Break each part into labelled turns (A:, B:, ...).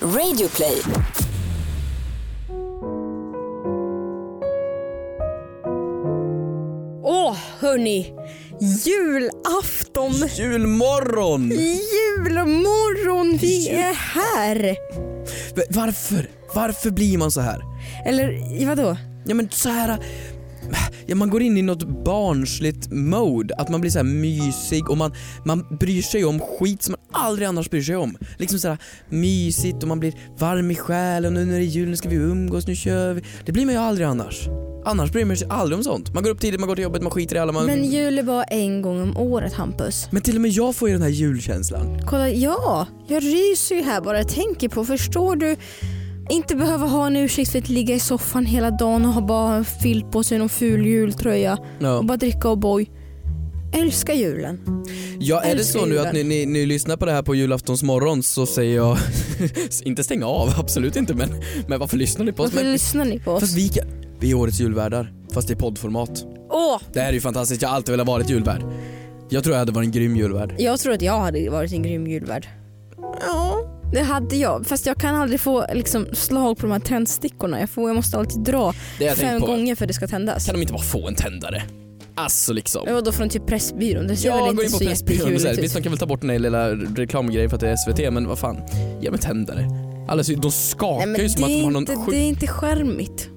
A: Radioplay.
B: Åh, hörni! Julafton,
C: Julmorgon!
B: julmorgon, vi
C: Jul-
B: är här!
C: V- Varför? Varför blir man så här?
B: Eller vadå?
C: Ja men så här... Ja, man går in i något barnsligt mode, att man blir så här mysig och man, man bryr sig om skit som man aldrig annars bryr sig om. Liksom så här mysigt och man blir varm i själen och nu är det jul, nu ska vi umgås, nu kör vi. Det blir man ju aldrig annars. Annars bryr man sig aldrig om sånt. Man går upp tidigt, man går till jobbet, man skiter i alla. Man...
B: Men jul är bara en gång om året Hampus.
C: Men till och med jag får ju den här julkänslan.
B: Kolla, ja! Jag ryser ju här bara jag tänker på. Förstår du? Inte behöva ha en ursäkt för att ligga i soffan hela dagen och ha bara en filt på sig, någon ful jultröja
C: Ja.
B: och bara dricka O'boy. Älskar julen.
C: Ja, är det
B: Älskar
C: så nu
B: julen.
C: att ni, ni, ni lyssnar på det här på julaftonsmorgon så säger jag, inte stänga av, absolut inte men, men varför lyssnar ni på oss?
B: Varför
C: Men,
B: lyssnar ni på
C: fast
B: oss?
C: vi, kan- vi är årets julvärdar, fast i poddformat.
B: Åh!
C: Det här är ju fantastiskt, jag har alltid velat vara ett julvärd. Jag tror jag hade varit en grym julvärd.
B: Jag tror att jag hade varit en grym julvärd. Ja. Det hade jag, fast jag kan aldrig få liksom, slag på de här tändstickorna. Jag, får, jag måste alltid dra
C: Det jag tänkt
B: fem
C: på,
B: gånger för att det ska tändas.
C: kan de inte bara få en tändare? Alltså liksom.
B: Det var då från typ Pressbyrån, det ser
C: Jag
B: väl
C: går
B: inte typ.
C: in på
B: så
C: Pressbyrån och
B: jättekul
C: säger, visst
B: ut.
C: de kan väl ta bort den här lilla reklamgrejen för att det är SVT men vad fan, ge mig tändare. Alltså de
B: Nej,
C: skakar
B: men
C: ju som att
B: det,
C: de har
B: är
C: någon
B: inte,
C: sjuk
B: det är inte skärmigt.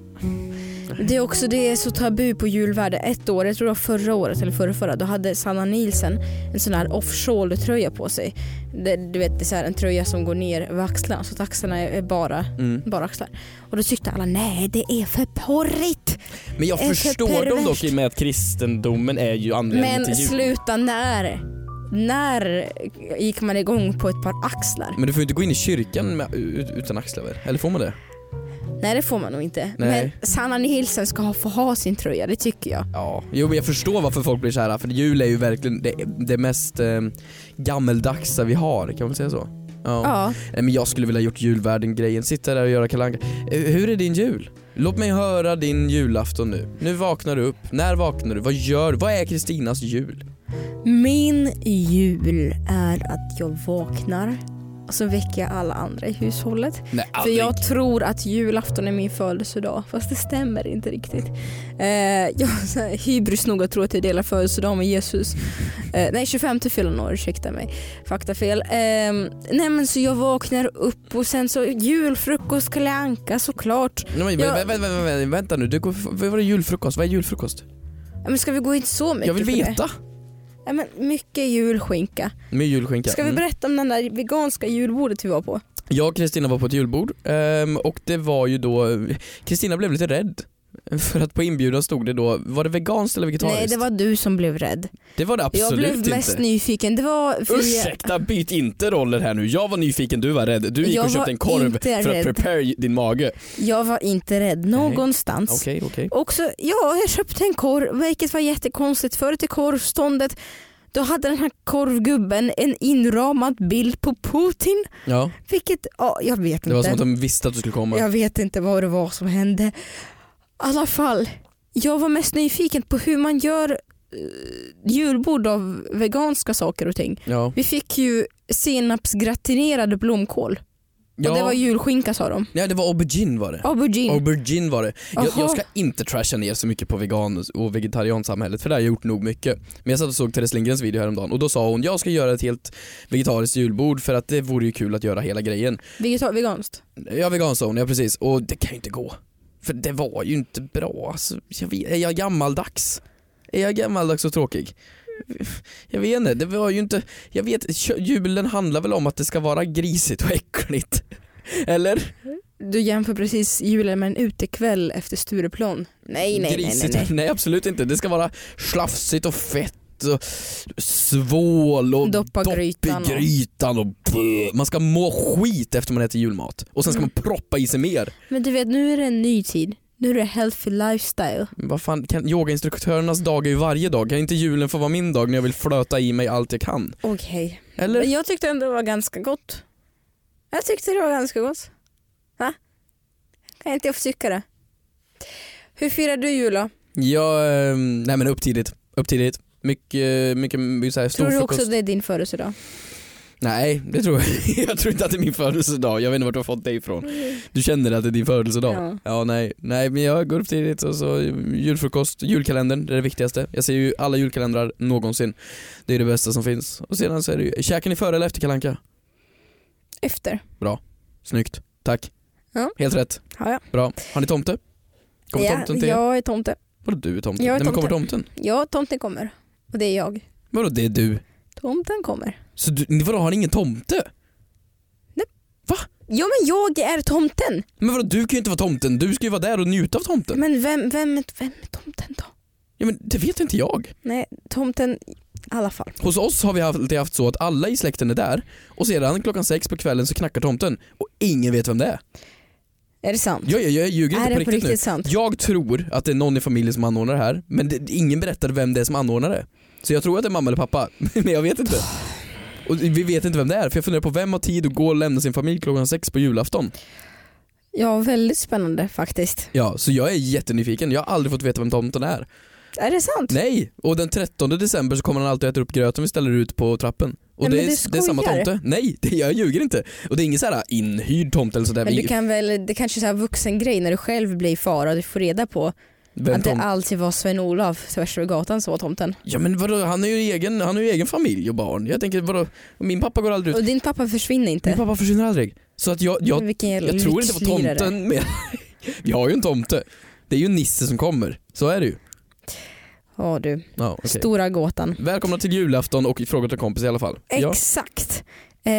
B: Det är också det är så tabu på julvärde. Ett år, jag tror det var förra året eller förra, förra då hade Sanna Nielsen en sån här off-shoulder tröja på sig. Det, du vet, det är så här, en tröja som går ner över axlarna så att axlarna är är bara
C: Mm.
B: bara axlar. Och då tyckte alla nej det är för porrigt.
C: Men jag
B: Ett
C: förstår dem
B: perverst.
C: dock i och med att kristendomen är ju anledningen
B: Men
C: till jul.
B: sluta när? När gick man igång på ett par axlar?
C: Men du får ju inte gå in i kyrkan med, ut- utan axlar Eller får man det?
B: Nej det får man nog inte.
C: Nej.
B: Men Sanna Nielsen ska ha, få ha sin tröja, det tycker jag.
C: Ja. Jo men jag förstår varför folk blir så här för jul är ju verkligen det, det mest eh, gammeldagsa vi har, kan man väl säga så? Ja.
B: Ja.
C: Nej, men jag skulle vilja gjort julvärden-grejen, sitta där och göra kalanka. Eh, Hur är din jul? Låt mig höra din julafton nu. Nu vaknar du upp. När vaknar du? Vad gör du? Vad är Kristinas jul?
B: Min jul är att jag vaknar och så väcker jag alla andra i hushållet.
C: Nej,
B: För
C: aldrig.
B: jag tror att julafton är min födelsedag, fast det stämmer inte riktigt. Eh, jag har så här hybris nog att tro att jag delar födelsedag med Jesus. Eh, nej, 25 fyller han år, ursäkta mig. Faktafel. Eh, nej men så jag vaknar upp och sen så julfrukost, Kalle Anka såklart.
C: Nej, men,
B: jag-
C: vänta, vänta, vänta, vänta nu, du går, vad var det julfrukost? Vad är julfrukost?
B: Ja, Men ska vi gå in så mycket
C: Jag vill
B: på det?
C: veta!
B: Ja, men mycket julskinka.
C: Med julskinka.
B: Ska vi
C: Mm.
B: berätta om den där veganska julbordet vi var på?
C: Jag och Kristina var på ett julbord ehm, och det var ju då, Kristina blev lite rädd. För att på inbjudan stod det då, var det veganskt eller vegetariskt?
B: Nej, det var du som blev rädd.
C: det, var det absolut
B: jag blev
C: inte.
B: mest nyfiken. Det var för
C: Ursäkta, byt inte roller här nu. Jag var nyfiken, du var rädd. Du gick
B: Jag
C: och
B: var
C: köpte en korv
B: inte
C: för
B: rädd.
C: att prepare din mage.
B: Jag var inte rädd någonstans.
C: Okej, okej.
B: Också, ja, jag köpte en korv, vilket var jättekonstigt. Förut i korvståndet, då hade den här korvgubben en inramad bild på Putin.
C: Ja,
B: Vilket, ja, jag vet inte.
C: det var som att de visste att du skulle komma.
B: Jag vet inte vad det var som hände. I alla fall, jag var mest nyfiken på hur man gör eh, julbord av veganska saker och ting.
C: Ja.
B: Vi fick ju senapsgratinerade blomkål.
C: Ja.
B: Och det var julskinka sa de.
C: Nej, det var aubergine var det.
B: Aubergine.
C: Aubergine var det. Jag,
B: Jaha.
C: jag ska inte trasha ner så mycket på vegan och vegetariansamhället för det har jag gjort nog mycket. Men jag satt och såg Therese Lindgrens video häromdagen och då sa hon jag ska göra ett helt vegetariskt julbord för att det vore ju kul att göra hela grejen.
B: Vegetar- veganskt.
C: Jag är vegan sa hon, ja precis. Och det kan ju inte gå. För det var ju inte bra. Alltså, jag vet, är jag gammaldags? Är jag gammaldags och tråkig? Jag vet inte, det var ju inte, jag vet, kö- julen handlar väl om att det ska vara grisigt och äckligt? Eller?
B: Du jämför precis julen med en utekväll efter Stureplan. Nej, nej, nej, nej.
C: grisigt.
B: nej.
C: absolut inte. Det ska vara slafsigt och fett och svål och
B: Doppa grytan
C: i
B: och-
C: grytan och blö. Man ska må skit efter man äter julmat och sen ska
B: Mm.
C: man proppa i sig mer.
B: Men du vet, nu är det en ny tid. Nu är det healthy lifestyle.
C: Men Vad fan, kan, yogainstruktörernas dag är ju varje dag. Kan inte julen få vara min dag när jag vill flöta i mig allt jag kan?
B: Okej.
C: Eller?
B: Men jag tyckte ändå det var ganska gott. Jag tyckte det var ganska gott. Va? Kan inte jag få tycka det? Hur firar du jul då?
C: Jag, eh, nej men upp tidigt. Upp tidigt. Mycket, mycket, mycket så här,
B: Tror du
C: storfrukost.
B: också det är din födelsedag?
C: Nej, det tror jag Jag tror inte att det är min födelsedag. Jag vet inte vart du har fått det ifrån. Du känner att det är din födelsedag?
B: Ja.
C: Ja, nej. Nej, men jag går upp tidigt och så julfrukost, julkalendern, det är det viktigaste. Jag ser ju alla julkalendrar någonsin. Det är det bästa som finns. Och sedan så är det ju, käkar ni före eller efter kalanka?
B: Efter.
C: Snyggt. Tack.
B: Ja.
C: Helt rätt.
B: Ja, ja.
C: Bra. Har ni tomte? Kommer
B: ja,
C: tomten till er?
B: Jag är tomte.
C: Vadå du är tomten?
B: Jag är
C: Nej men kommer tomten?
B: Ja, tomten kommer. Och det är jag.
C: Vadå det är du?
B: Tomten kommer.
C: Så du, ni- vadå har ni ingen tomte?
B: Ja men jag är tomten!
C: Men vadå du kan ju inte vara tomten, du ska ju vara där och njuta av tomten.
B: Men vem, vem, vem är tomten då?
C: Ja men det vet inte jag.
B: Nej, tomten i alla fall.
C: Hos oss har vi alltid haft så att alla i släkten är där och sedan klockan sex på kvällen så knackar tomten och ingen vet vem det är.
B: Är det sant?
C: Jag, jag, jag ljuger
B: är
C: inte på
B: det
C: riktigt, nu.
B: sant?
C: Jag tror att det är någon i familjen som anordnar det här men det, ingen berättar vem det är som anordnar det. Så jag tror att det är mamma eller pappa, men jag vet inte. Och vi vet inte vem det är för jag funderar på vem har tid att gå och lämna sin familj klockan sex på julafton?
B: Ja, väldigt spännande faktiskt.
C: Ja, så jag är jättenyfiken. Jag har aldrig fått veta vem tomten är.
B: Är det sant?
C: Nej! Och den 13 december så kommer han alltid och äter upp gröten vi ställer ut på trappen. Och
B: Nej, men
C: det, är,
B: du
C: s- det är samma
B: skojar.
C: tomte. Nej, det, jag ljuger inte. Och det är ingen så här inhyrd tomte eller sådär.
B: Men du
C: Vi-
B: kan väl, det kanske är så här vuxen grej när du själv blir far och du får reda på
C: vem
B: att det
C: tom-
B: alltid var Sven-Olof tvärs över gatan som var tomten.
C: Ja men vadå, han har ju egen, han har ju egen familj och barn. Jag tänker vadå, min pappa går aldrig ut.
B: Och Mm, din pappa försvinner
C: Min
B: inte.
C: pappa försvinner aldrig. Så att jag, jag,
B: Vilken jävla
C: jag tror inte på
B: lyxlirare.
C: tomten men vi har ju en tomte. Det är ju Nisse som kommer. Så är det ju.
B: Ja du,
C: Ja, okej.
B: stora gåtan.
C: Välkomna till julafton och fråga till kompis i alla fall. Ja.
B: Exakt.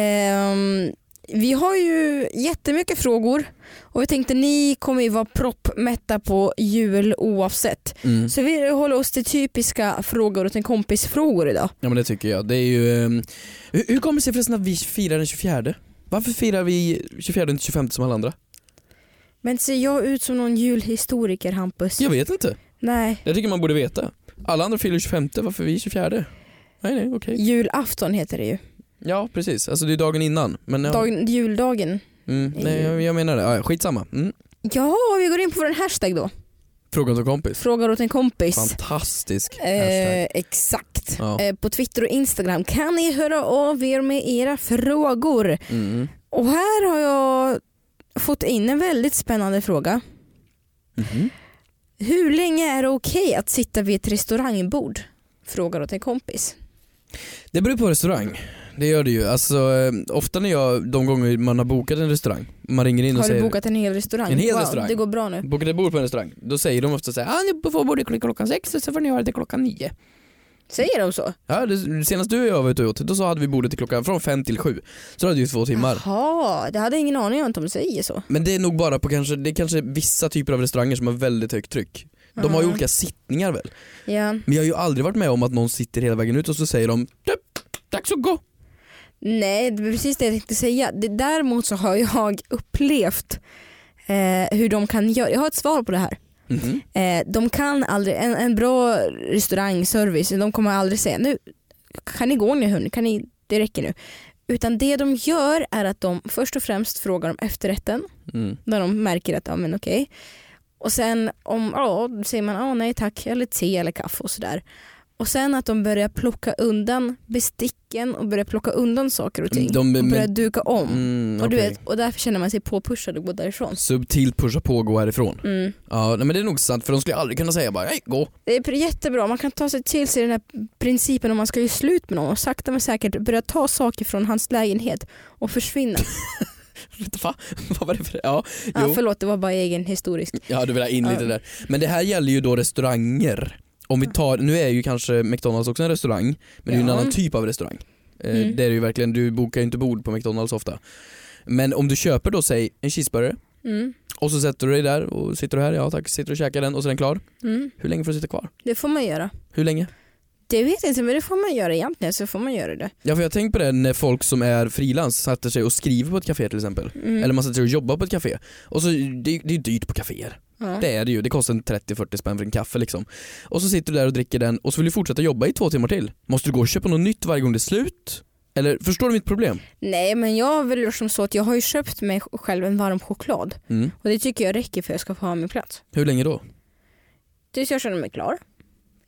B: Ehm, vi har ju jättemycket frågor och vi tänkte ni kommer ju vara proppmätta på jul oavsett.
C: Mm.
B: Så vi håller oss till typiska frågor och till kompisfrågor idag.
C: Ja men det tycker jag. Det är ju, ehm, hur, hur kommer det sig förresten att vi firar den 24? Varför firar vi 24 och inte 25 som alla andra?
B: Men ser jag ut som någon julhistoriker Hampus?
C: Jag vet inte.
B: Nej.
C: Jag tycker man borde veta. Alla andra firar 25, varför vi 24? Nej nej okej.
B: Julafton heter det ju.
C: Ja precis, alltså det är dagen innan. Men ja.
B: Dagen, juldagen.
C: mm, nej, jag, jag menar det, ja, ja, skitsamma. Mm.
B: Ja, vi går in på en hashtag då.
C: Fråga till kompis.
B: Frågar åt en kompis.
C: Fantastisk hashtag.
B: Eh, exakt.
C: Ja.
B: Eh, på Twitter och Instagram kan ni höra av er med era frågor.
C: Mm.
B: Och här har jag fått in en väldigt spännande fråga.
C: Mhm.
B: Hur länge är det okej att sitta vid ett restaurangbord? Frågar åt en kompis.
C: Det beror på restaurang. Det gör det ju. Alltså, eh, ofta när jag, de gånger man har bokat en restaurang, man ringer in och
B: Har du
C: säger
B: bokat en hel restaurang?
C: En hel
B: wow,
C: restaurang.
B: Det går bra nu.
C: Bokar ett bord på en restaurang, då säger de ofta såhär ah, ni får bordet till klockan sex och så får ni ha det till klockan nio.
B: Säger de så?
C: Ja, det, senast du och jag var ute och åt, då så hade vi bordet till klockan från fem till sju. Så det hade ju två timmar.
B: Jaha, det hade jag ingen aning om att de säger så.
C: Men det är nog bara på kanske, det är kanske vissa typer av restauranger som har väldigt högt tryck. De har ju
B: Mm.
C: olika sittningar väl?
B: Ja.
C: Men jag har ju aldrig varit med om att någon sitter hela vägen ut och så säger de "Tup, dags att gå.
B: Nej, det var precis det jag tänkte säga. Det, däremot så har jag upplevt eh, hur de kan göra. Jag har ett svar på det här.
C: Mhm.
B: Eh, de kan aldrig, en, en bra restaurangservice, de kommer aldrig säga nu kan ni gå nu hörni, kan ni, det räcker nu. Utan det de gör är att de först och främst frågar om efterrätten
C: Mm.
B: när de märker att ja men okej. Och sen om, ja då säger man ja nej tack eller te eller kaffe och sådär. Och sen att de börjar plocka undan besticken och börjar plocka undan saker och ting.
C: De-
B: och börjar
C: men-
B: duka om.
C: Mm,
B: och, du
C: okej.
B: vet, och därför känner man sig påpushad och går därifrån.
C: Subtilt pusha på och gå härifrån.
B: Mm.
C: Ja, nej, men det är nog sant för de skulle aldrig kunna säga bara hej gå.
B: Det är pr- jättebra, man kan ta sig till sig den här principen om man ska göra slut med någon och sakta men säkert börja ta saker från hans lägenhet och försvinna.
C: Va? Vad var det för Ja,
B: Ja,
C: jo.
B: förlåt, det var bara egen historisk.
C: Ja du vill ha in lite
B: Ja.
C: där. Men det här gäller ju då restauranger. Om vi tar, nu är ju kanske McDonalds också en restaurang, men det är ju en
B: Ja.
C: annan typ av restaurang. Eh,
B: Mm.
C: Det är det ju verkligen, du bokar ju inte bord på McDonalds ofta. Men om du köper då säg en cheeseburgare
B: Mm.
C: och så sätter du dig där och sitter du här, ja tack, sitter och käkar den och så är den klar.
B: Mm.
C: Hur länge får du sitta kvar?
B: Det får man göra.
C: Hur länge?
B: Det vet jag inte men det får man göra egentligen så får man göra det.
C: Ja för jag har tänkt på det när folk som är frilans sätter sig och skriver på ett café till exempel.
B: Mm.
C: Eller man sätter sig och jobbar på ett café. Och så, det, det är ju dyrt på kaféer.
B: ja.
C: Det är det ju, det kostar en 30-40 spänn för en kaffe liksom. Och så sitter du där och dricker den och så vill du fortsätta jobba i två timmar till. Måste du gå och köpa något nytt varje gång det är slut? Eller förstår du mitt problem?
B: Nej men jag vill göra som så att jag har ju köpt mig själv en varm choklad
C: Mm.
B: och det tycker jag räcker för att jag ska få ha min plats.
C: Hur länge då?
B: Tills jag känner mig klar.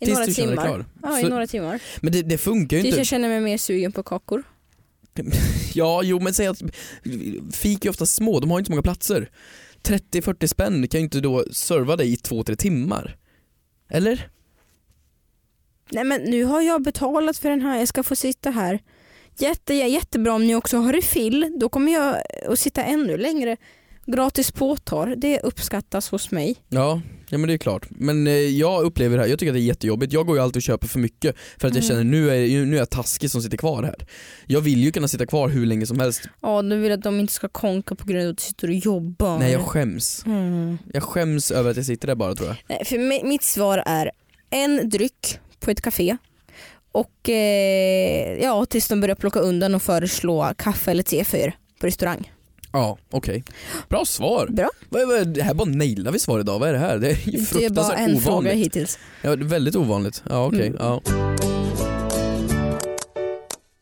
B: I
C: Tills
B: några
C: du känner dig
B: timmar.
C: klar?
B: Ja, i
C: Så-
B: några timmar.
C: Men det, det funkar ju
B: Tills
C: inte.
B: jag känner mig mer sugen på kakor.
C: Ja, jo men säg att fik är ofta små, de har inte så många platser. 30-40 spänn kan ju inte då serva dig i 2-3 timmar. Eller?
B: Nej men nu har jag betalat för den här, jag ska få sitta här. Jätte, jättebra om ni också har refill, då kommer jag att sitta ännu längre. Gratis påtar, det uppskattas hos mig.
C: Ja, ja men det är klart. Men eh, jag upplever det här, jag tycker att det är jättejobbigt. Jag går ju alltid och köper för mycket för att jag
B: Mm.
C: känner nu är, nu är jag taskig som sitter kvar här. Jag vill ju kunna sitta kvar hur länge som helst.
B: Ja, du vill att de inte ska konka på grund av att du sitter och jobbar.
C: Nej jag skäms.
B: mm.
C: Jag skäms över att jag sitter där bara tror jag.
B: Nej, för mi- mitt svar är en dryck på ett café och eh, ja, tills de börjar plocka undan och föreslå kaffe eller te för er på restaurang.
C: Ja, okej. Bra svar.
B: Bra.
C: Vad, vad, det här bara nailar vi svar idag, vad är det här? Det är ju fruktansvärt
B: Det är bara en
C: ovanligt.
B: fråga hittills.
C: Ja, det är väldigt ovanligt. Ja, okej.
B: Mm.
C: Ja.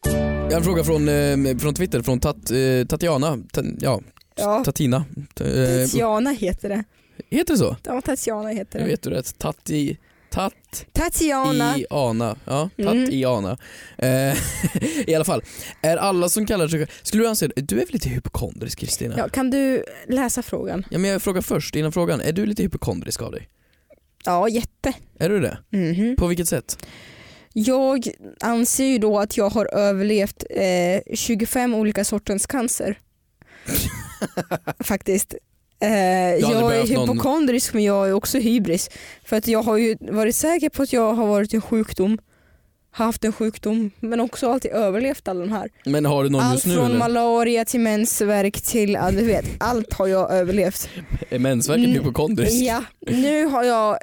C: Jag har en fråga från, eh, från Twitter, från Tat, eh, Tatiana. Ta, ja,
B: Ja.
C: Tatina. Ta, eh,
B: Tatiana heter det.
C: heter det så?
B: Ja, Tatiana heter
C: Nu
B: det.
C: vet du rätt. Tatti... Tat
B: Tatiana.
C: i Ana. Ja, tatt
B: Mm.
C: i Ana. Eh, I alla fall, är alla som kallar sig Skulle du anse, du är väl lite hypokondrisk Kristina?
B: Ja, kan du läsa frågan?
C: ja men jag frågar först, innan frågan, är du lite hypokondrisk av dig?
B: Ja, jätte.
C: Är du det?
B: Mhm.
C: På vilket sätt?
B: Jag anser ju då att jag har överlevt eh, 25 olika sortens cancer. Faktiskt. Eh, jag är
C: behövt någon-
B: hypokondrisk men jag är också hybris. För att jag har ju varit säker på att jag har varit i en sjukdom, haft en sjukdom men också alltid överlevt alla de här.
C: Men har du någon
B: Allt
C: just nu
B: från
C: eller?
B: malaria till mensvärk till, ja, du vet, allt har jag överlevt.
C: Är mensvärken
B: Mm.
C: hypokondrisk?
B: Ja, nu har jag... eh,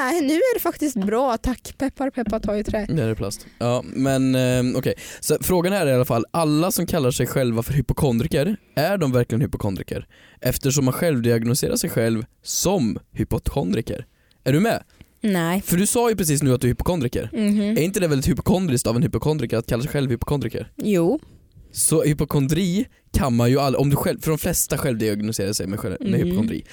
B: Nej, nu är det faktiskt bra. Tack. Peppar, peppar, ta i trä.
C: Det är plast. Ja, men eh, okej. Så frågan här är i alla fall, alla som kallar sig själva för hypokondriker, är de verkligen hypokondriker? Eftersom man själv diagnostiserar sig själv som hypokondriker. Är du med?
B: Nej.
C: För du sa ju precis nu att du är hypokondriker.
B: Mm. Eh.
C: Är inte det väldigt hypokondriskt av en hypokondriker att kalla sig själv hypokondriker?
B: Jo.
C: Så hypokondri kan man ju aldrig, om du själv, för de flesta självdiagnostiserar sig med, själv, med
B: Mm.
C: hypokondri.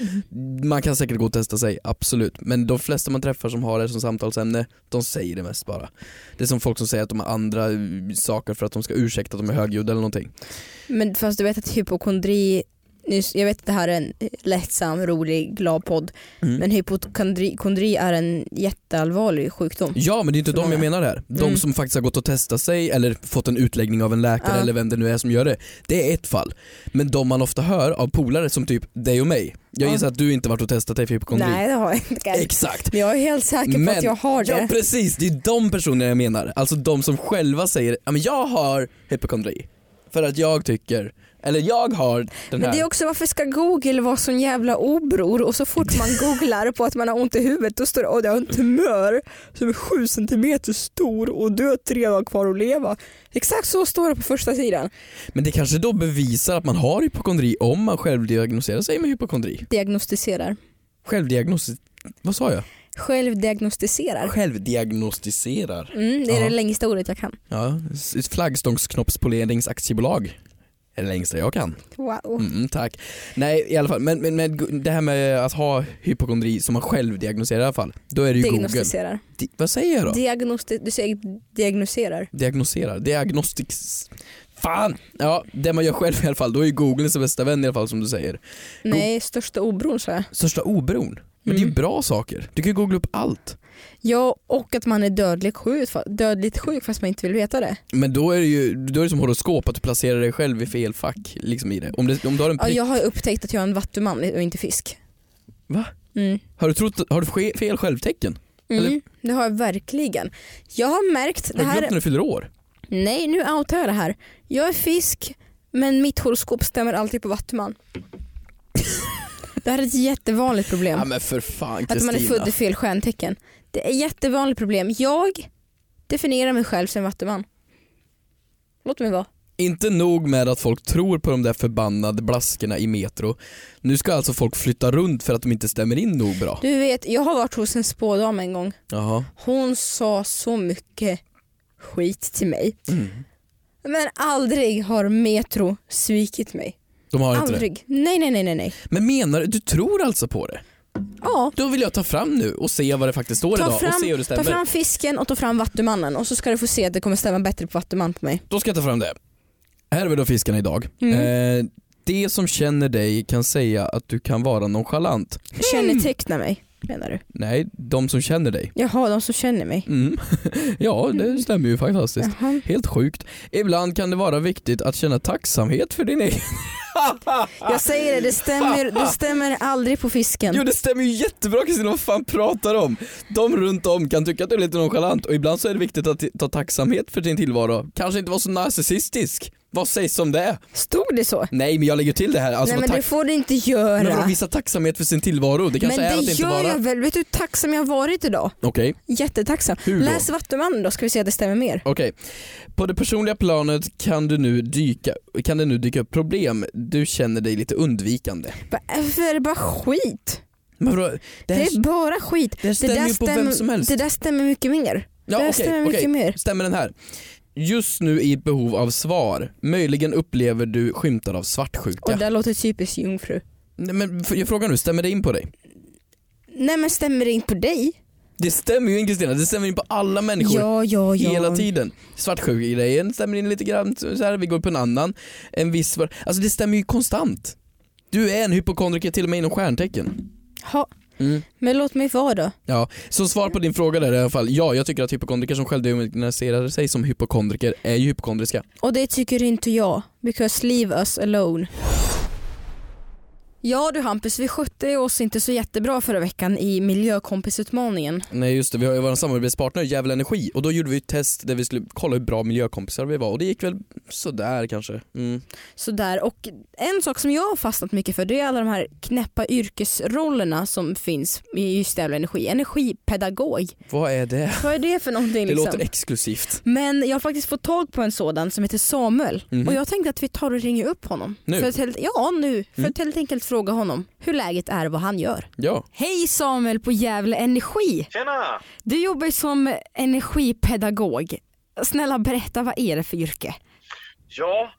C: Man kan säkert gå och testa sig, absolut. Men de flesta man träffar som har det som samtalsämne, de säger det mest bara. Det är som folk som säger att de har andra eh, saker för att de ska ursäkta att de är högljudda eller någonting.
B: Men fast du vet att hypokondri, nyss- jag vet att det här är en eh, lättsam, rolig, glad podd.
C: Mm.
B: Men hypokondri kondri är en jätteallvarlig sjukdom.
C: Ja men det är inte
B: För
C: de jag
B: många.
C: menar här. De
B: Mm.
C: som faktiskt har gått och testat sig eller fått en utläggning av en läkare
B: Ja.
C: eller vem det nu är som gör det. Det är ett fall. Men de man ofta hör av polare som typ dig och mig. Jag
B: Ja.
C: gissar att du inte varit och testat dig för hypokondri.
B: Nej det har jag inte kanske.
C: Exakt.
B: Men jag är helt säker på
C: Men-
B: att jag har det.
C: Ja precis, det är de personerna jag menar. Alltså de som själva säger ja men jag har hypokondri för att jag tycker, eller jag har den
B: Men
C: här.
B: det är också varför ska google vara sån jävla obror och så fort man googlar på att man har ont i huvudet då står det att jag har en tumör som är sju centimeter stor och du har tre dagar kvar att leva. Exakt så står det på första sidan.
C: Men det kanske då bevisar att man har hypokondri om man självdiagnostiserar sig med hypokondri.
B: Diagnostiserar.
C: Självdiagnos... Vad sa jag?
B: Självdiagnostiserar.
C: Självdiagnostiserar.
B: Mm, det är
C: Ja.
B: det längsta ordet jag kan.
C: Ja, s- flaggstångsknoppspoleringsaktiebolag. Är det längsta jag kan.
B: Wow.
C: Mm, mm, tack. Nej i alla fall, men, men, men det här med att ha hypokondri som man själv diagnostiserar i alla fall, då är det ju Google.
B: Diagnostiserar.
C: Di- vad säger jag då?
B: Diagnosti- du säger diagnoserar.
C: diagnoserar, diagnostics. Fan! Ja, det man gör själv i alla fall, då är ju Google ens bästa vän i alla fall som du säger.
B: Nej, största obron sa jag.
C: Största oberoende. Men det är ju
B: Mm.
C: bra saker. Du kan ju googla upp allt.
B: Ja, och att man är dödligt sjuk, fa- dödligt sjuk fast man inte vill veta det.
C: Men då är det ju då är det som horoskop, att du placerar dig själv i fel fack liksom i det. Om, det, om du har en
B: Ja,
C: prick,
B: jag har upptäckt att jag är en vattuman och inte fisk.
C: Va?
B: Mm.
C: har du, trott, har du ske- fel självtecken?
B: Mm,
C: Eller-
B: Det har jag verkligen. Jag har märkt
C: Har
B: det
C: du glömt
B: här.
C: när du fyller år?
B: Nej, nu outar jag det här. Jag är fisk, men mitt horoskop stämmer alltid på vattuman. det här är ett jättevanligt problem.
C: Ja men för fan
B: Att man är
C: Kristina.
B: född i fel stjärntecken. Det är ett jättevanligt problem. Jag definierar mig själv som vattuman. Låt mig vara.
C: Inte nog med att folk tror på de där förbannade blaskorna i Metro. Nu ska alltså folk flytta runt för att de inte stämmer in nog bra.
B: Du vet, jag har varit hos en spådam en gång.
C: Jaha.
B: Hon sa så mycket skit till mig.
C: Mm.
B: Men aldrig har Metro svikit mig.
C: De har inte det.
B: Aldrig. Nej, nej, nej, nej, nej.
C: Men menar du, du tror alltså på det?
B: Ja.
C: Då vill jag ta fram nu och se vad det faktiskt står
B: Ta
C: idag och se hur
B: fram,
C: det
B: ta
C: stämmer.
B: fram fisken och ta fram vattumannen och så ska du få se att det kommer stämma bättre på vattuman på mig.
C: Då ska jag ta fram det. Här är vi då fiskarna idag.
B: Mm.
C: Eh, det som känner dig kan säga att du kan vara nonchalant. Mm.
B: Känneteckna mig menar du?
C: Nej, de som känner dig.
B: Jaha, de som känner mig.
C: Mm. ja, det stämmer ju fantastiskt.
B: Jaha.
C: Helt sjukt. Ibland kan det vara viktigt att känna tacksamhet för din egen...
B: Jag säger det, det stämmer, det stämmer aldrig på fisken.
C: Ah. Jo det stämmer ju jättebra Kristina, vad fan pratar du om? De runt om kan tycka att du är lite nonchalant och ibland så är det viktigt att ta tacksamhet för din tillvaro. Kanske inte vara så narcissistisk. Vad sägs om det?
B: Stod det så?
C: Nej men jag lägger till det här. Alltså,
B: Nej men
C: tack-
B: det får du inte göra.
C: men vadå, visa tacksamhet för sin tillvaro. Det kanske
B: Men
C: är
B: det
C: att inte
B: gör
C: vara...
B: jag väl. Vet du hur tacksam jag har varit idag?
C: Okej,
B: Jättetacksam.
C: hur då?
B: Läs Vattumannen då ska vi se att det stämmer mer.
C: Okej. På det personliga planet kan, du nu dyka, kan det nu dyka upp problem. Du känner dig lite undvikande.
B: Varför är det bara skit?
C: Men vadå, det
B: Det
C: här,
B: är bara skit.
C: det här
B: Det
C: stämmer
B: där,
C: ju på vem som helst.
B: det där stämmer mycket mer.
C: ja,
B: det där
C: okej,
B: stämmer
C: okej.
B: mycket mer.
C: Stämmer den här? Just nu i behov av svar. Möjligen upplever du skymtar av
B: Och
C: svartsjuka.
B: det där låter typiskt jungfru.
C: Nej, men f- jag frågar nu, stämmer det in på dig?
B: Nej men stämmer det inte på dig?
C: Det stämmer ju in Kristina, det stämmer in på alla människor.
B: Ja, ja, ja.
C: Hela tiden. Svartsjukegrejen stämmer in lite grann, så här, vi går på en annan. En viss svar. Alltså det stämmer ju konstant. Du är en hypokondriker till och med inom stjärntecken.
B: Ha, men låt mig vara då.
C: Ja, så svar på din fråga där i alla fall. Ja, jag tycker att hypokondriker som självdiagnostiserar sig som hypokondriker är ju hypokondriska.
B: Och det tycker inte jag. Because leave us alone. Ja du Hampus, vi skötte oss inte så jättebra förra veckan i miljökompisutmaningen.
C: Nej just det, vi har ju vår samarbetspartner Jävla Energi och då gjorde vi ett test där vi skulle kolla hur bra miljökompisar vi var och det gick väl sådär kanske. Mm.
B: Sådär. Och en sak som jag har fastnat mycket för det är alla de här knäppa yrkesrollerna som finns i just Jävla Energi. Energipedagog.
C: Vad är det?
B: Vad är det för någonting
C: Det
B: liksom?
C: låter exklusivt.
B: Men jag har faktiskt fått tag på en sådan som heter Samuel
C: Mhm.
B: och jag tänkte att vi tar och ringer upp honom.
C: Nu?
B: För att helt, ja nu, för
C: Mm.
B: att helt enkelt fråga honom hur läget är och vad han gör.
C: Ja.
B: Hej Samuel på Gävle Energi!
A: Tjena!
B: Du jobbar ju som energipedagog. Snälla berätta, vad är det för yrke?
A: Ja,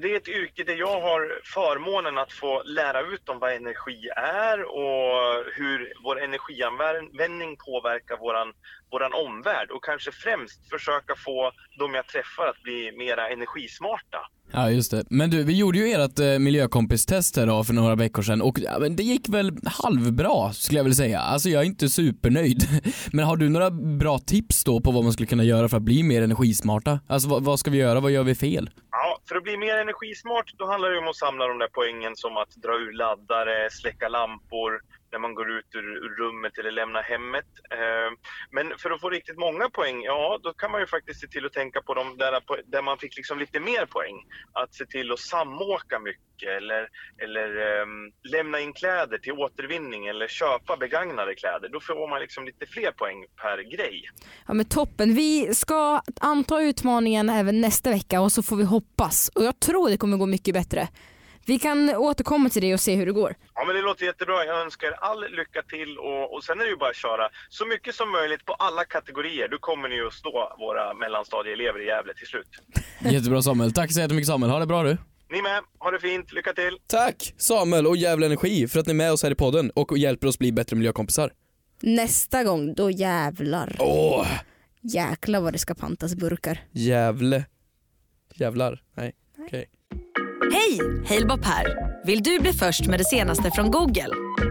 A: det är ett yrke där jag har förmånen att få lära ut om vad energi är och hur vår energianvändning påverkar våran, våran omvärld och kanske främst försöka få de jag träffar att bli mera energismarta.
D: Ja just det. Men du, vi gjorde ju ert eh, miljökompistest här då för några veckor sedan och ja, men det gick väl halvbra skulle jag vilja säga. Alltså jag är inte supernöjd. Men har du några bra tips då på vad man skulle kunna göra för att bli mer energismarta? Alltså vad, vad ska vi göra? Vad gör vi fel?
A: Ja, för att bli mer energismart då handlar det om att samla de där poängen som att dra ur laddare, släcka lampor när man går ut ur ur rummet eller lämnar hemmet. Eh, Men för att få riktigt många poäng, ja då kan man ju faktiskt se till att tänka på de där, po- där man fick liksom lite mer poäng. Att se till att samåka mycket eller, eller ehm, lämna in kläder till återvinning eller köpa begagnade kläder. Då får man liksom lite fler poäng per grej.
B: Ja men toppen, vi ska anta utmaningen även nästa vecka och så får vi hoppas. Och jag tror det kommer gå mycket bättre. Vi kan återkomma till det och se hur det går.
A: Ja, men det låter jättebra. Jag önskar er all lycka till och, och sen är det ju bara att köra så mycket som möjligt på alla kategorier. Då kommer ni ju att slå våra mellanstadieelever i Gävle till slut.
D: Jättebra Samuel. Tack så jättemycket Samuel. Ha det bra du.
A: Ni med, ha det fint, lycka till!
C: Tack Samuel och Jävla Energi för att ni är med oss här i podden och hjälper oss bli bättre miljökompisar.
B: Nästa gång, då jävlar.
C: Åh,
B: Jäklar vad det ska pantas burkar.
C: Jävle. Jävlar. Nej, okej.
E: Hej! Halebop här. Vill du bli först med det senaste från Google?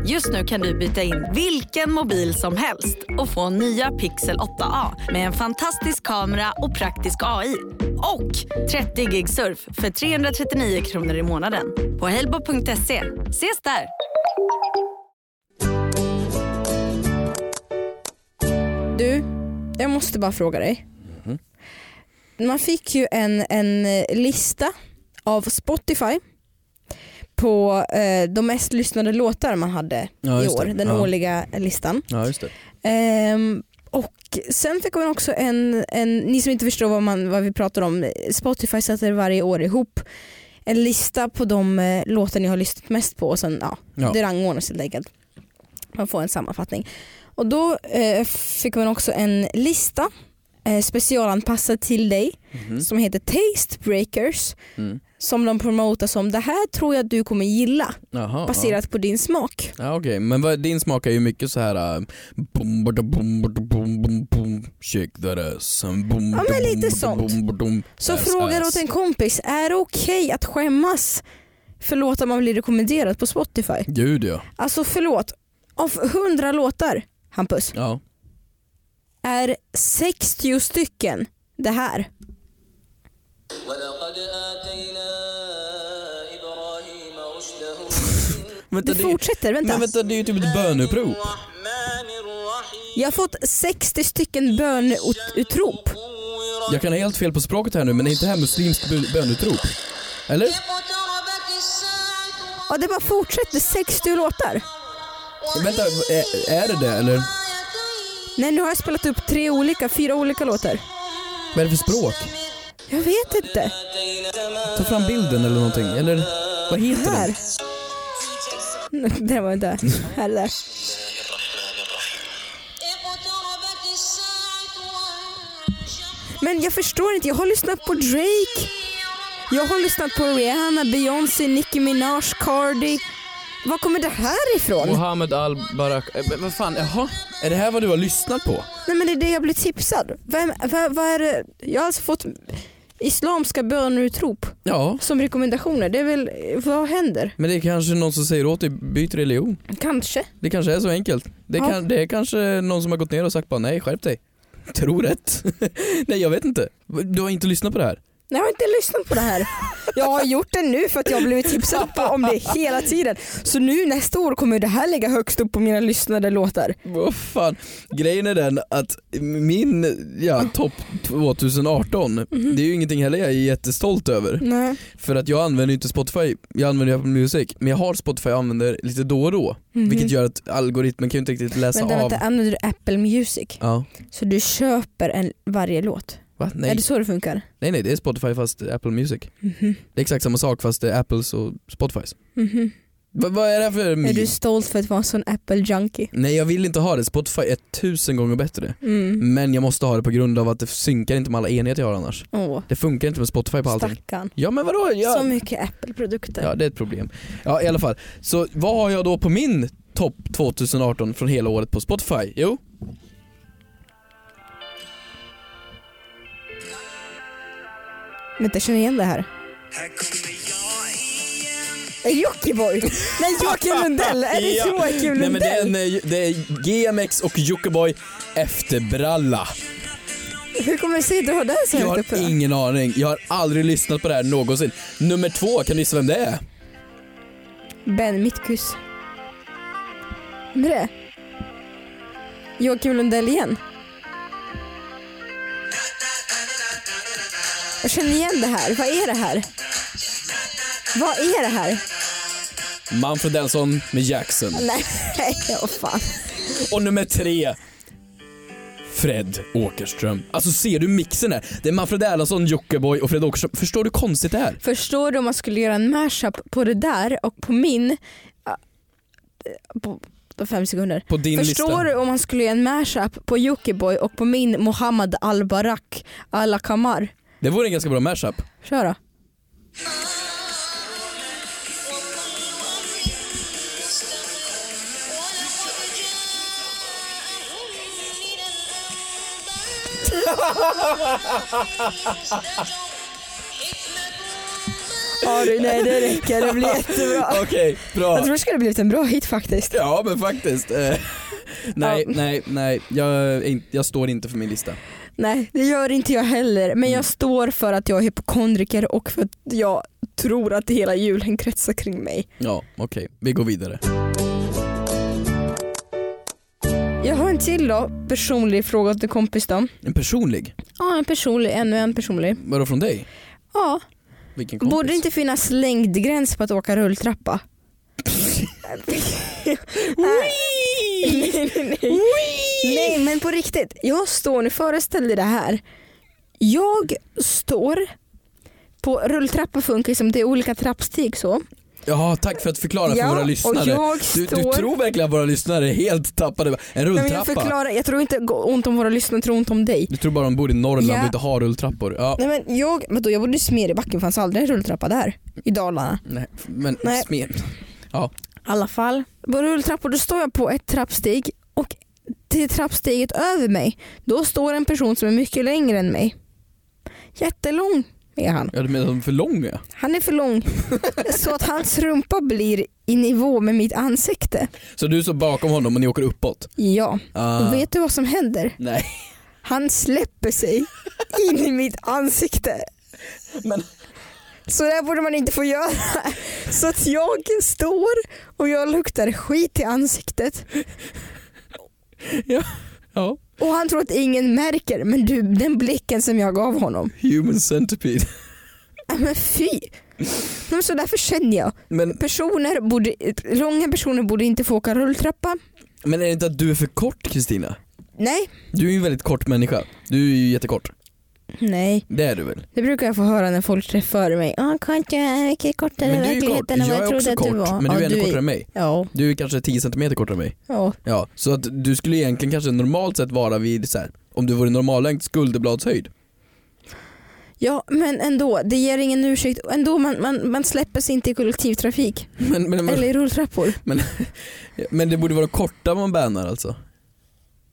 E: Just nu kan du byta in vilken mobil som helst och få nya Pixel 8A med en fantastisk kamera och praktisk AI. Och 30 gig surf för 339 kronor i månaden på halebop.se. Ses där!
B: Du, jag måste bara fråga dig.
C: Mhm.
B: Man fick ju en, en eh, lista av Spotify på eh, de mest lyssnade låtar man hade
C: Ja,
B: i
C: just
B: år,
C: det.
B: den
C: Ja.
B: årliga listan.
C: Ja, just det.
B: Ehm, och sen fick man också en, en ni som inte förstår vad, man, vad vi pratar om, Spotify sätter varje år ihop en lista på de eh, låtar ni har lyssnat mest på och sen ja,
C: Ja.
B: det rangordnas helt enkelt. Man får en sammanfattning. Och då eh, fick man också en lista eh, specialanpassad till dig som heter Taste Breakers.
C: Mhm. Mm.
B: som de promotar som det här tror jag att du kommer gilla
C: Jaha, ja.
B: baserat på din smak.
C: Ja, Okej, men vad, din smak är ju mycket så här. äh, Boom, bada, boom, bada, boom, boom, boom, shake that ass. and Boom,
B: Ja,
C: bada,
B: men lite
C: boom, bada,
B: sånt.
C: boom, bada, boom,
B: Så
C: ass,
B: frågar
C: ass.
B: åt en kompis, är det okej att skämmas förlåt om man blir rekommenderad på Spotify?
C: Gud ja.
B: Alltså förlåt, av 100 låtar Hampus,
C: ja.
B: är 60 stycken det här.
F: ولقد آتينا إبراهيم رشده
C: Vänta,
B: Du
C: det-
B: fortsätter, vänta.
C: Men vänta, det är ju typ ett böneutrop.
F: الرحمن الرحيم
B: Jag har fått 60 stycken bönutrop.
C: Jag kan ha helt fel på språket här nu, men är inte det här muslimskt bön- böneutrop? Eller?
F: اقتربت الساعة
B: Ja, det bara fortsätter, 60 låtar.
C: Vänta, är, är det det eller?
B: Nej nu har jag spelat upp tre olika, fyra olika låtar.
C: Vad är det för språk?
B: Jag vet inte.
C: Ta fram bilden eller någonting, eller? Vad heter den?
B: Här. Det var inte. Här är det.
F: اقتربت الساعة وانشق
B: Men jag förstår inte, jag har lyssnat på Drake. Jag har lyssnat på Rihanna, Beyoncé, Nicki Minaj, Cardi. Var kommer det här ifrån?
C: Mohammed al-Barak... eh, men Vad fan, jaha? Är det här vad du har lyssnat på?
B: Nej men det är det jag blir tipsad. Vem, vad, vad är det? Jag har alltså fått islamska bönutrop
C: Ja.
B: som rekommendationer. Det är väl, vad händer?
C: Men det är kanske någon som säger åt dig, byt religion.
B: Kanske.
C: Det kanske är så enkelt. Det,
B: Ja.
C: kan, det är kanske någon som har gått ner och sagt bara nej, skärp dig. Tror rätt. nej, jag vet inte. Du har inte lyssnat på det här?
B: Nej, Jag har inte lyssnat på det här. Jag har gjort det nu för att jag har blivit tipsad på om det hela tiden. Så nu nästa år kommer det här ligga högst upp på mina lyssnade låtar.
C: Vad fan, grejen är den att min ja, topp 2018,
B: Mhm.
C: det är ju ingenting heller jag är jättestolt över.
B: Nej.
C: För att jag använder ju inte Spotify, jag använder ju Apple Music, men jag har Spotify och använder lite då och då. Vilket gör att algoritmen kan ju inte riktigt läsa
B: Mhm. Vänta,
C: av.
B: vänta, använder du Apple Music?
C: Ja.
B: Så du köper en, varje låt?
C: Va?
B: Är
C: Nej.
B: det Mhm. så det funkar?
C: nej nej, det är Spotify fast Apple Music. Det är exakt samma sak fast det är Apples och Spotifys.
B: Mhm.
C: Va, vad är det här för
B: Är
C: meme?
B: du stolt för att vara en sån Apple junkie?
C: Nej jag vill inte ha det, Spotify är tusen gånger bättre.
B: Mm.
C: Men jag måste ha det på grund av att det synkar inte med alla enheter jag har annars.
B: Åh,
C: Det funkar inte med Spotify på allting.
B: stackarn.
C: Ja men vadå?
B: Så
C: Jag...
B: mycket Apple-produkter.
C: Ja det är ett problem. Ja i alla fall. Så vad har jag då på min topp 2018 från hela året på Spotify? Jo,
B: Vänta, jag känner igen det här. Är det Jockiboi? Nej, Joakim Lundell! Är det
C: Ja.
B: Joakim
C: Nej, men det, är
B: Lundell?
C: en, eh, det är GMX och Jockiboi efterbralla.
B: Hur kommer det sig att du har den så
C: Jag
B: högt
C: har
B: uppe? då?
C: ingen aning, jag har aldrig lyssnat på det här någonsin. Nummer två, kan du gissa vem det är?
B: Ben Mittkus. Vem är det? Joakim Lundell igen. Jag känner igen det här. Vad är det här? Vad är det här?
C: Manfred Delsson med Jackson.
B: Nej, åh fan.
C: Och nummer tre, Fred Åkerström. Alltså ser du mixen här? Det är Manfred Erlandsson, Jockiboi och Fred Åkerström. Förstår du hur konstigt det är?
B: Förstår du om man skulle göra en mashup på det där och på min... ah, På de fem sekunder.
C: På din
B: Förstår
C: lista.
B: du om man skulle göra en mashup på Jockiboi och på min Mohammed Al-Barak Alla Kamar?
C: Det vore en ganska bra mashup.
B: Kör då. Ari, nej det räcker, det blir jättebra.
C: Okej, bra.
B: Jag tror det skulle blivit en bra hit faktiskt.
C: Ja men faktiskt. Eh, nej,
B: Ja.
C: nej, nej. Jag, är in- jag står inte för min lista.
B: Nej, det gör inte jag heller. Men jag står för att jag är hypokondriker och för att jag tror att hela julen kretsar kring mig.
C: Ja, okej. Vi går vidare.
B: Jag har en till då, personlig fråga till kompis då.
C: En personlig?
B: Ja, en personlig, ännu en personlig.
C: Vadå från dig?
B: Ja,
C: Vilken kompis?
B: borde det inte finnas längdgräns på att åka rulltrappa? nej, nej, nej. nej, men på riktigt. Jag står nu, föreställ dig det här. Jag står på rulltrappa funkar som det är olika trappsteg så.
C: Jaha, tack för att förklara
B: Ja,
C: för våra
B: och
C: lyssnare.
B: jag
C: du, du
B: står-
C: tror verkligen att våra lyssnare är helt tappade. En
B: Nej, men jag,
C: rulltrappa.
B: förklarar, jag tror inte ont om våra lyssnare, jag tror ont om dig.
C: Du tror bara de bor i Norrland
B: Ja.
C: och inte har rulltrappor. Ja.
B: Nej men jag, vadå, jag bodde i Smedjebacken, fanns aldrig en rulltrappa där. I Dalarna.
C: Nej, men
B: Nej.
C: smet. Ja.
B: I alla fall. På rulltrappor då står jag på ett trappsteg och till trappsteget över mig då står en person som är mycket längre än mig. Jättelång är han.
C: ja, du menar de är för långa?
B: Han är för lång så att hans rumpa blir i nivå med mitt ansikte.
C: Så du står bakom honom och ni åker uppåt?
B: Ja,
C: Ah.
B: och vet du vad som händer?
C: Nej.
B: Han släpper sig in i mitt ansikte.
C: Men-
B: Så det här borde man inte få göra. Så att jag står och jag luktar skit i ansiktet
C: Ja.
B: Och han tror att ingen märker, men du, den blicken som jag gav honom.
C: Human centipede.
B: Äh, Men fy! Men Så därför känner jag.
C: Men,
B: Personer borde, långa personer borde inte få åka rulltrappa.
C: men är det inte att du är för kort Kristina?
B: Nej,
C: Du är ju en väldigt kort människa. Du är ju jättekort.
B: nej.
C: Det är du väl?
B: Det brukar jag få höra när folk träffar mig. Ja, kanske är mycket kortare i
C: Men du är ju kort.
B: verkligheten än vad
C: Jag
B: jag
C: är
B: trodde
C: också
B: att du var.
C: kort, men du är
B: ja,
C: ännu kortare än mig.
B: Ja,
C: Du är kanske 10 cm kortare än mig.
B: ja.
C: Ja, så att du skulle egentligen kanske normalt sett vara vid så här, om du vore normallängd skulderbladshöjd.
B: ja, men ändå. Det ger ingen ursäkt. Ändå, man, man, man släpper sig inte i kollektivtrafik.
C: Men, men,
B: Eller
C: men,
B: i rulltrappor.
C: men det borde vara de korta man bannar alltså.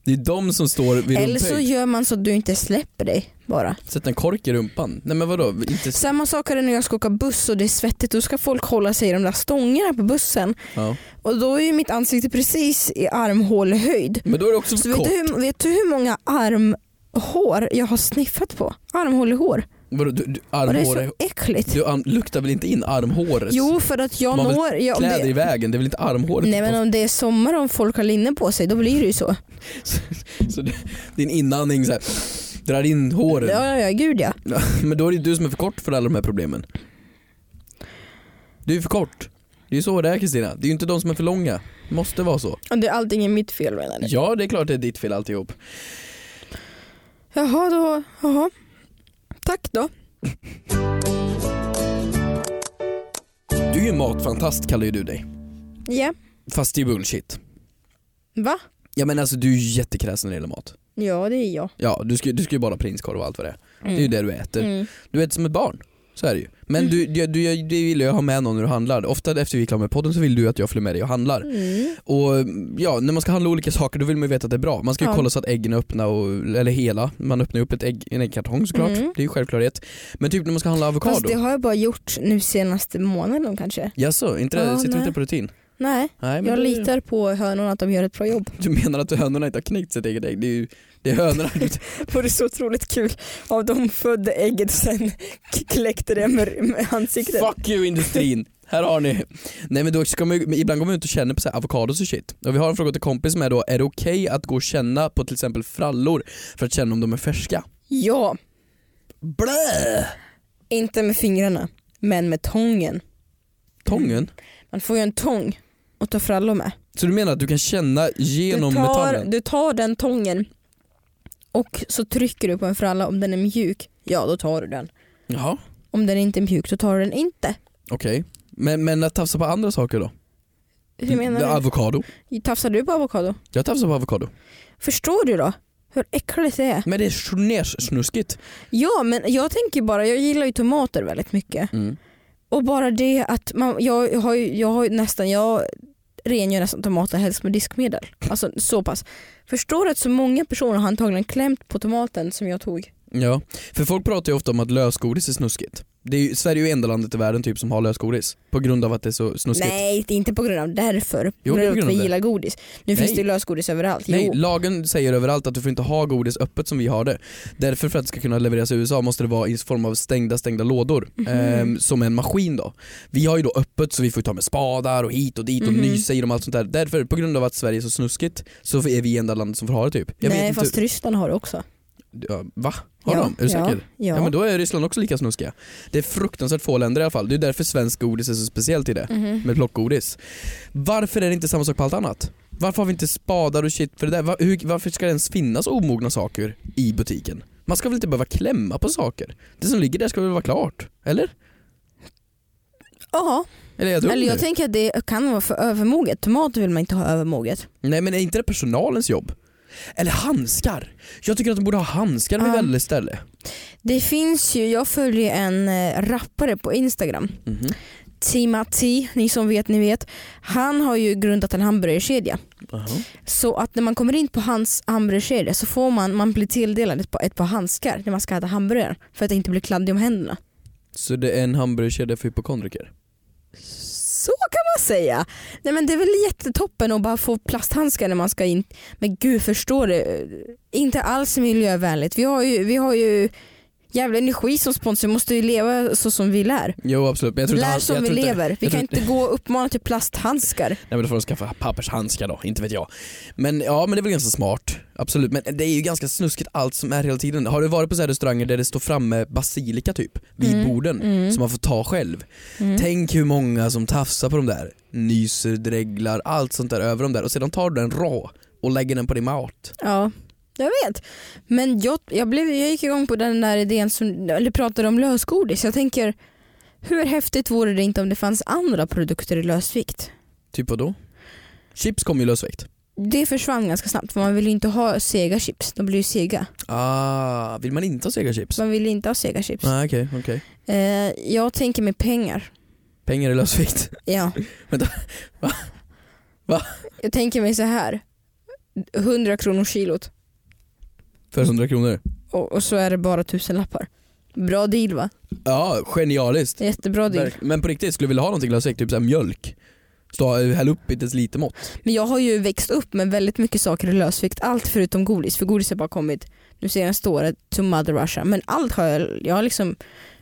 C: Det är de som står vid
B: Eller så
C: rumphöjd.
B: gör man så att du inte släpper dig bara.
C: Sätt en kork i rumpan. Nej men vadå? Inte... s-
B: Samma sak är det när jag ska åka buss och det är svettigt. Då ska folk hålla sig i de där stångerna på bussen.
C: Ja.
B: Och då är ju mitt ansikte precis i armhålehöjd.
C: Men då är det också
B: Så
C: för
B: vet
C: kort.
B: du, hur, vet du hur många armhår jag har sniffat på? Armhålehår.
C: Vadå, du, du,
B: Och det är
C: armhår...
B: så äckligt.
C: Du an- luktar väl inte in armhåret?
B: Jo, för att jag
C: Man har väl
B: når... Jag, om
C: Kläder i typ
B: det,
C: vägen, det är väl inte armhåret?
B: nej men om det är sommar och om folk har linne på sig, då blir det ju så.
C: så det, din inandning så här, drar in håren.
B: Ja, ja, ja gud ja.
C: Men då är det ju du som är för kort för alla de här problemen. Du är för kort. Det är ju så det är Kristina. Det är ju inte de som är för långa. Det måste vara så.
B: Och det, allting är mitt fel menar du?
C: Ja, det är klart det är ditt fel alltihop.
B: Jaha då, jaha. Tack då.
C: Du är ju matfantast kallar ju du dig.
B: Ja.
C: Fast det är bullshit.
B: Va?
C: Ja men alltså du är ju jättekräsen när det gäller mat.
B: Ja, det är jag.
C: Ja, du ska, du ska ju bara ha prinskorv och allt vad det är. Det är ju det du äter.
B: Mm.
C: Du äter som ett barn. Så är det ju. Men du, du, du, du vill ju ha med någon när du handlar. Ofta efter vi är klara med podden så vill du att jag följer med dig och handlar.
B: Mm.
C: Och ja, när man ska handla olika saker då vill man ju veta att det är bra. Man ska ju
B: Ja.
C: kolla så att äggen är öppna, och, eller hela. Man öppnar ju upp ett ägg, en äggkartong såklart,
B: Mm.
C: det är ju självklarhet. Men typ när man ska handla
B: Fast
C: avokado.
B: det har jag bara gjort nu senaste månaden kanske.
C: Jaså, inte det,
B: Ja,
C: sitter du
B: nej.
C: inte på rutin?
B: Nej,
C: Nej, men
B: jag
C: det-
B: litar på hönorna att de gör ett bra jobb.
C: Du menar att hönorna inte har knäckt sitt eget ägg? Det är ju det är hönorna.
B: Var det så otroligt kul av de födde ägget och sen kläckte det med, med ansiktet.
C: Fuck you industrin! Här har ni. Nej men då ska man ju, men ibland går man ut och känner på så här avokados och shit. Och vi har en fråga till kompis som är då, är det okej att gå och känna på till exempel frallor för att känna om de är färska?
B: Ja,
C: Blä!
B: inte med fingrarna men med tången.
C: Tången?
B: Man får ju en tång och ta frallor med.
C: Så du menar att du kan känna genom
B: du, tar,
C: metallen?
B: du tar den tången och så trycker du på en fralla. Om den är mjuk, ja då tar du den.
C: Jaha,
B: Om den inte är mjuk så tar du den inte.
C: okej. Men, men att tafsa på andra saker då?
B: Hur
C: Mm,
B: menar
C: Avokado.
B: du? Tafsar du på avokado?
C: Jag tafsar på avokado.
B: Förstår du då hur äckligt det är?
C: Men det är snesnuskigt.
B: Ja men jag tänker bara, jag gillar ju tomater väldigt mycket.
C: Mm.
B: Och bara det att man, jag har ju, jag har ju nästan, jag rengör nästan tomater helst med diskmedel. Alltså så pass. Förstår du att så många personer har antagligen klämt på tomaten som jag tog?
C: Ja, för folk pratar ju ofta om att lösgodis är snuskigt. Det är ju, Sverige är ju enda landet i världen typ som har lösgodis. På grund av att det är så snuskigt.
B: Nej, det är inte på grund av därför.
C: Jo,
B: på grund
C: det är
B: av
C: på
B: att
C: grund
B: vi
C: av det.
B: gillar godis. Nu
C: Nej.
B: finns det ju lösgodis överallt.
C: Nej,
B: Jo.
C: lagen säger överallt att du får inte ha godis öppet som vi har det. Därför för att det ska kunna levereras i USA måste det vara i form av stängda stängda lådor.
B: Mhm.
C: Ehm, som en maskin då. Vi har ju då öppet så vi får ta med spadar och hit och dit
B: Mhm.
C: och nysa i dem och allt sånt där. Därför, på grund av att Sverige är så snuskigt så är vi enda landet som får ha det typ. Jag vet
B: Nej
C: inte-
B: fast Ryssland har det också.
C: Ja, va? Har
B: ja,
C: de? Är du
B: ja,
C: säker?
B: Ja.
C: Ja. men då är Ryssland också lika snuskiga. Det är fruktansvärt få länder i alla fall. Det är därför svensk godis är så speciellt i det.
B: Mhm.
C: Med plockgodis. Varför är det inte samma sak på allt annat? Varför har vi inte spadar och shit för det där? Va- hur, varför ska det ens finnas omogna saker i butiken? Man ska väl inte behöva klämma på saker? Det som ligger där ska väl vara klart? Eller?
B: Jaha.
C: Eller är jag dum
B: Eller jag
C: nu?
B: tänker att det kan vara för övermoget. Tomater vill man inte ha övermoget.
C: Nej men är inte det personalens jobb? Eller handskar! Jag tycker att de borde ha handskar vid
B: Ja.
C: väldigt ställe.
B: Det finns ju, jag följer en eh, rappare på Instagram.
C: Mhm.
B: Timati, ni som vet ni vet. Han har ju grundat en hamburgerkedja. Så att när man kommer in på hans hamburgerkedja så får man, man blir tilldelad ett par, ett par handskar när man ska äta hamburgaren för att inte bli kladdig om händerna.
C: Så det är en hamburgerkedja för hypokondriker?
B: Så kan man säga. Nej men det är väl jättetoppen att bara få plasthandskar när man ska in. Men gud förstår du? eh, Inte alls miljövänligt. Vi har ju, vi har ju jävla energi som sponsor. Vi måste ju leva så som vi lär.
C: Jo absolut, men jag tror inte
B: Lär
C: han-
B: som
C: jag
B: vi
C: tror inte-
B: lever. Vi
C: jag
B: kan
C: tror
B: inte gå och uppmana till plasthandskar.
C: Nej men då får de skaffa pappershandskar då, inte vet jag. Men ja, men det är väl ganska smart. Absolut, men det är ju ganska snuskigt allt som är hela tiden. Har du varit på så här restauranger där det står framme basilika typ, vid
B: Mm.
C: borden, som man får ta själv? Tänk hur många som tafsar på de där, nyser, dreglar, allt sånt där över de där och sedan tar du den rå och lägger den på din mat.
B: Ja, jag vet. Men jag, jag, blev, jag gick igång på den där idén som eller pratade om lösgodis. Jag tänker, hur häftigt vore det inte om det fanns andra produkter i lösvikt?
C: Typ vad då? Chips kommer ju lösvikt.
B: Det försvann ganska snabbt för man vill ju inte ha sega chips. De blir ju sega.
C: Ah, vill man inte ha sega chips?
B: Man vill inte ha sega chips.
C: Nej okej, okej.
B: Eh, jag tänker med pengar.
C: Pengar är lösvikt.
B: Ja.
C: Vänta, va? Va?
B: Jag tänker mig så här. 100 kronor kilot
C: För 100 kronor.
B: och, och så är det bara tusenlappar. Bra deal va?
C: Ja, genialiskt.
B: Jättebra deal.
C: Verk- Men på riktigt, skulle du vilja ha någonting lösvikt? Typ såhär mjölk? Stå, häll upp inte ens lite mått.
B: Men jag har ju växt upp med väldigt mycket saker i lösvikt. Allt förutom godis, för godis har bara kommit nu senaste året to mother Russia. Men allt har jag, jag har liksom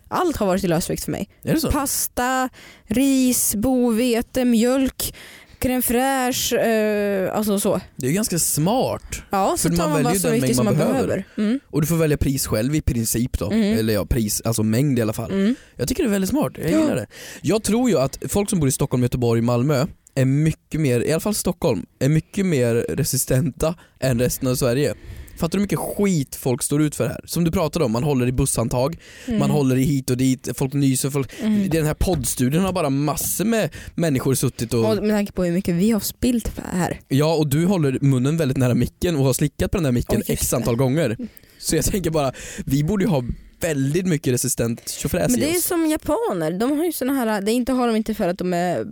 B: allt har varit i lösvikt för mig.
C: Är det så?
B: Pasta, ris, bovete, mjölk, crème fraîche, eh, alltså så.
C: Det är ju ganska smart.
B: Ja, så
C: För
B: tar
C: man
B: man bara
C: väljer ju
B: så
C: den
B: mycket
C: mängd
B: som man
C: man
B: behöver.
C: behöver.
B: Mm,
C: Och du får välja pris själv i princip då.
B: Mm.
C: Eller ja, pris, alltså mängd i alla fall.
B: mm.
C: Jag tycker det är väldigt smart, jag
B: Ja.
C: gillar det. Jag tror ju att folk som bor i Stockholm, Göteborg, Malmö är mycket mer, i alla fall Stockholm, är mycket mer resistenta än resten av Sverige. Fattar du hur mycket skit folk står ut för här? Som du pratade om, man håller i busshandtag,
B: Mm.
C: man håller i hit och dit, folk nyser, folk... den här poddstudion har bara massor med människor suttit och...
B: Och med tanke på hur mycket vi har spillt här.
C: Ja och du håller munnen väldigt nära micken och har slickat på den där
B: Oj,
C: micken
B: just
C: x
B: det.
C: antal gånger. Så jag tänker bara, vi borde ju ha väldigt mycket resistent tjofräs
B: Men det
C: i
B: är
C: oss.
B: som japaner, de har ju såna här, det inte har de inte för att de är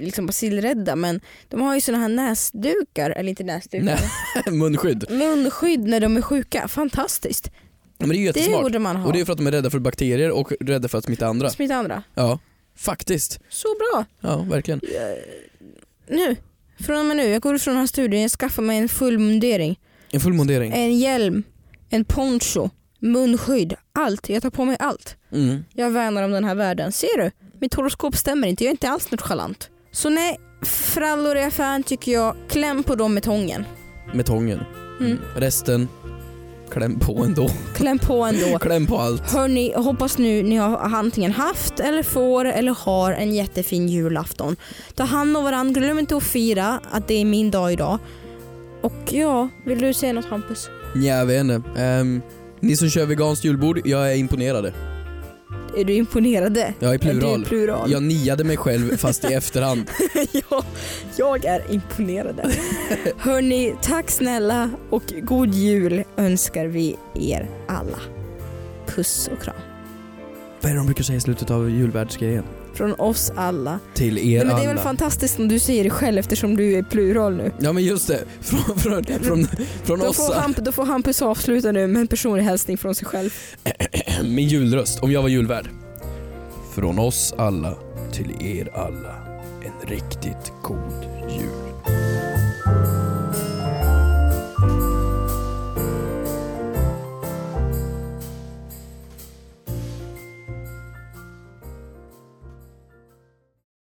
B: liksom basilrädda men de har ju såna här näsdukar, eller inte näsdukar,
C: Nej. Munskydd.
B: munskydd när de är sjuka. Fantastiskt.
C: Men det är ju
B: Det
C: jättesmart.
B: borde man ha.
C: Och det är för att de är rädda för bakterier och rädda för att smitta andra.
B: Smitta andra.
C: Ja, faktiskt.
B: Så bra.
C: Ja, verkligen.
B: Nu, från och med nu, jag går ifrån den här studion, jag skaffar mig en full mundering.
C: En full mundering.
B: En hjälm, en poncho, munskydd, allt. Jag tar på mig allt.
C: Mm.
B: Jag värnar om den här världen. Ser du? Mitt horoskop stämmer inte, jag är inte alls nonchalant. Så nej, frallor i affären tycker jag, kläm på dem med tången.
C: Med tången.
B: Mm.
C: Resten, kläm på ändå.
B: Kläm på ändå.
C: Kläm på allt.
B: Hörni, jag hoppas nu ni har antingen haft eller får eller har en jättefin julafton. Ta hand om varandra, glöm inte att fira att det är min dag idag. Och ja, vill du säga något Hampus?
C: Nja, jag vet inte. Ehm, ni som kör veganskt julbord, jag är imponerade.
B: Är du imponerade?
C: Jag är
B: Är
C: plural.
B: du plural?
C: Jag niade mig själv fast i efterhand.
B: jag, jag är imponerade. Hörni, tack snälla och god jul önskar vi er alla. Puss och kram.
C: Vad är det de brukar säga i slutet av julvärldsgrejen?
B: Från oss alla.
C: Till er
B: Nej, men det är väl
C: alla.
B: fantastiskt om du säger det själv eftersom du är plural nu.
C: ja men just det, från, från, från, från
B: Då
C: oss.
B: får, Hamp, då får Hampus avsluta nu med en personlig hälsning från sig själv.
C: Min julröst, om jag var julvärd. Från oss alla till er alla, en riktigt god jul.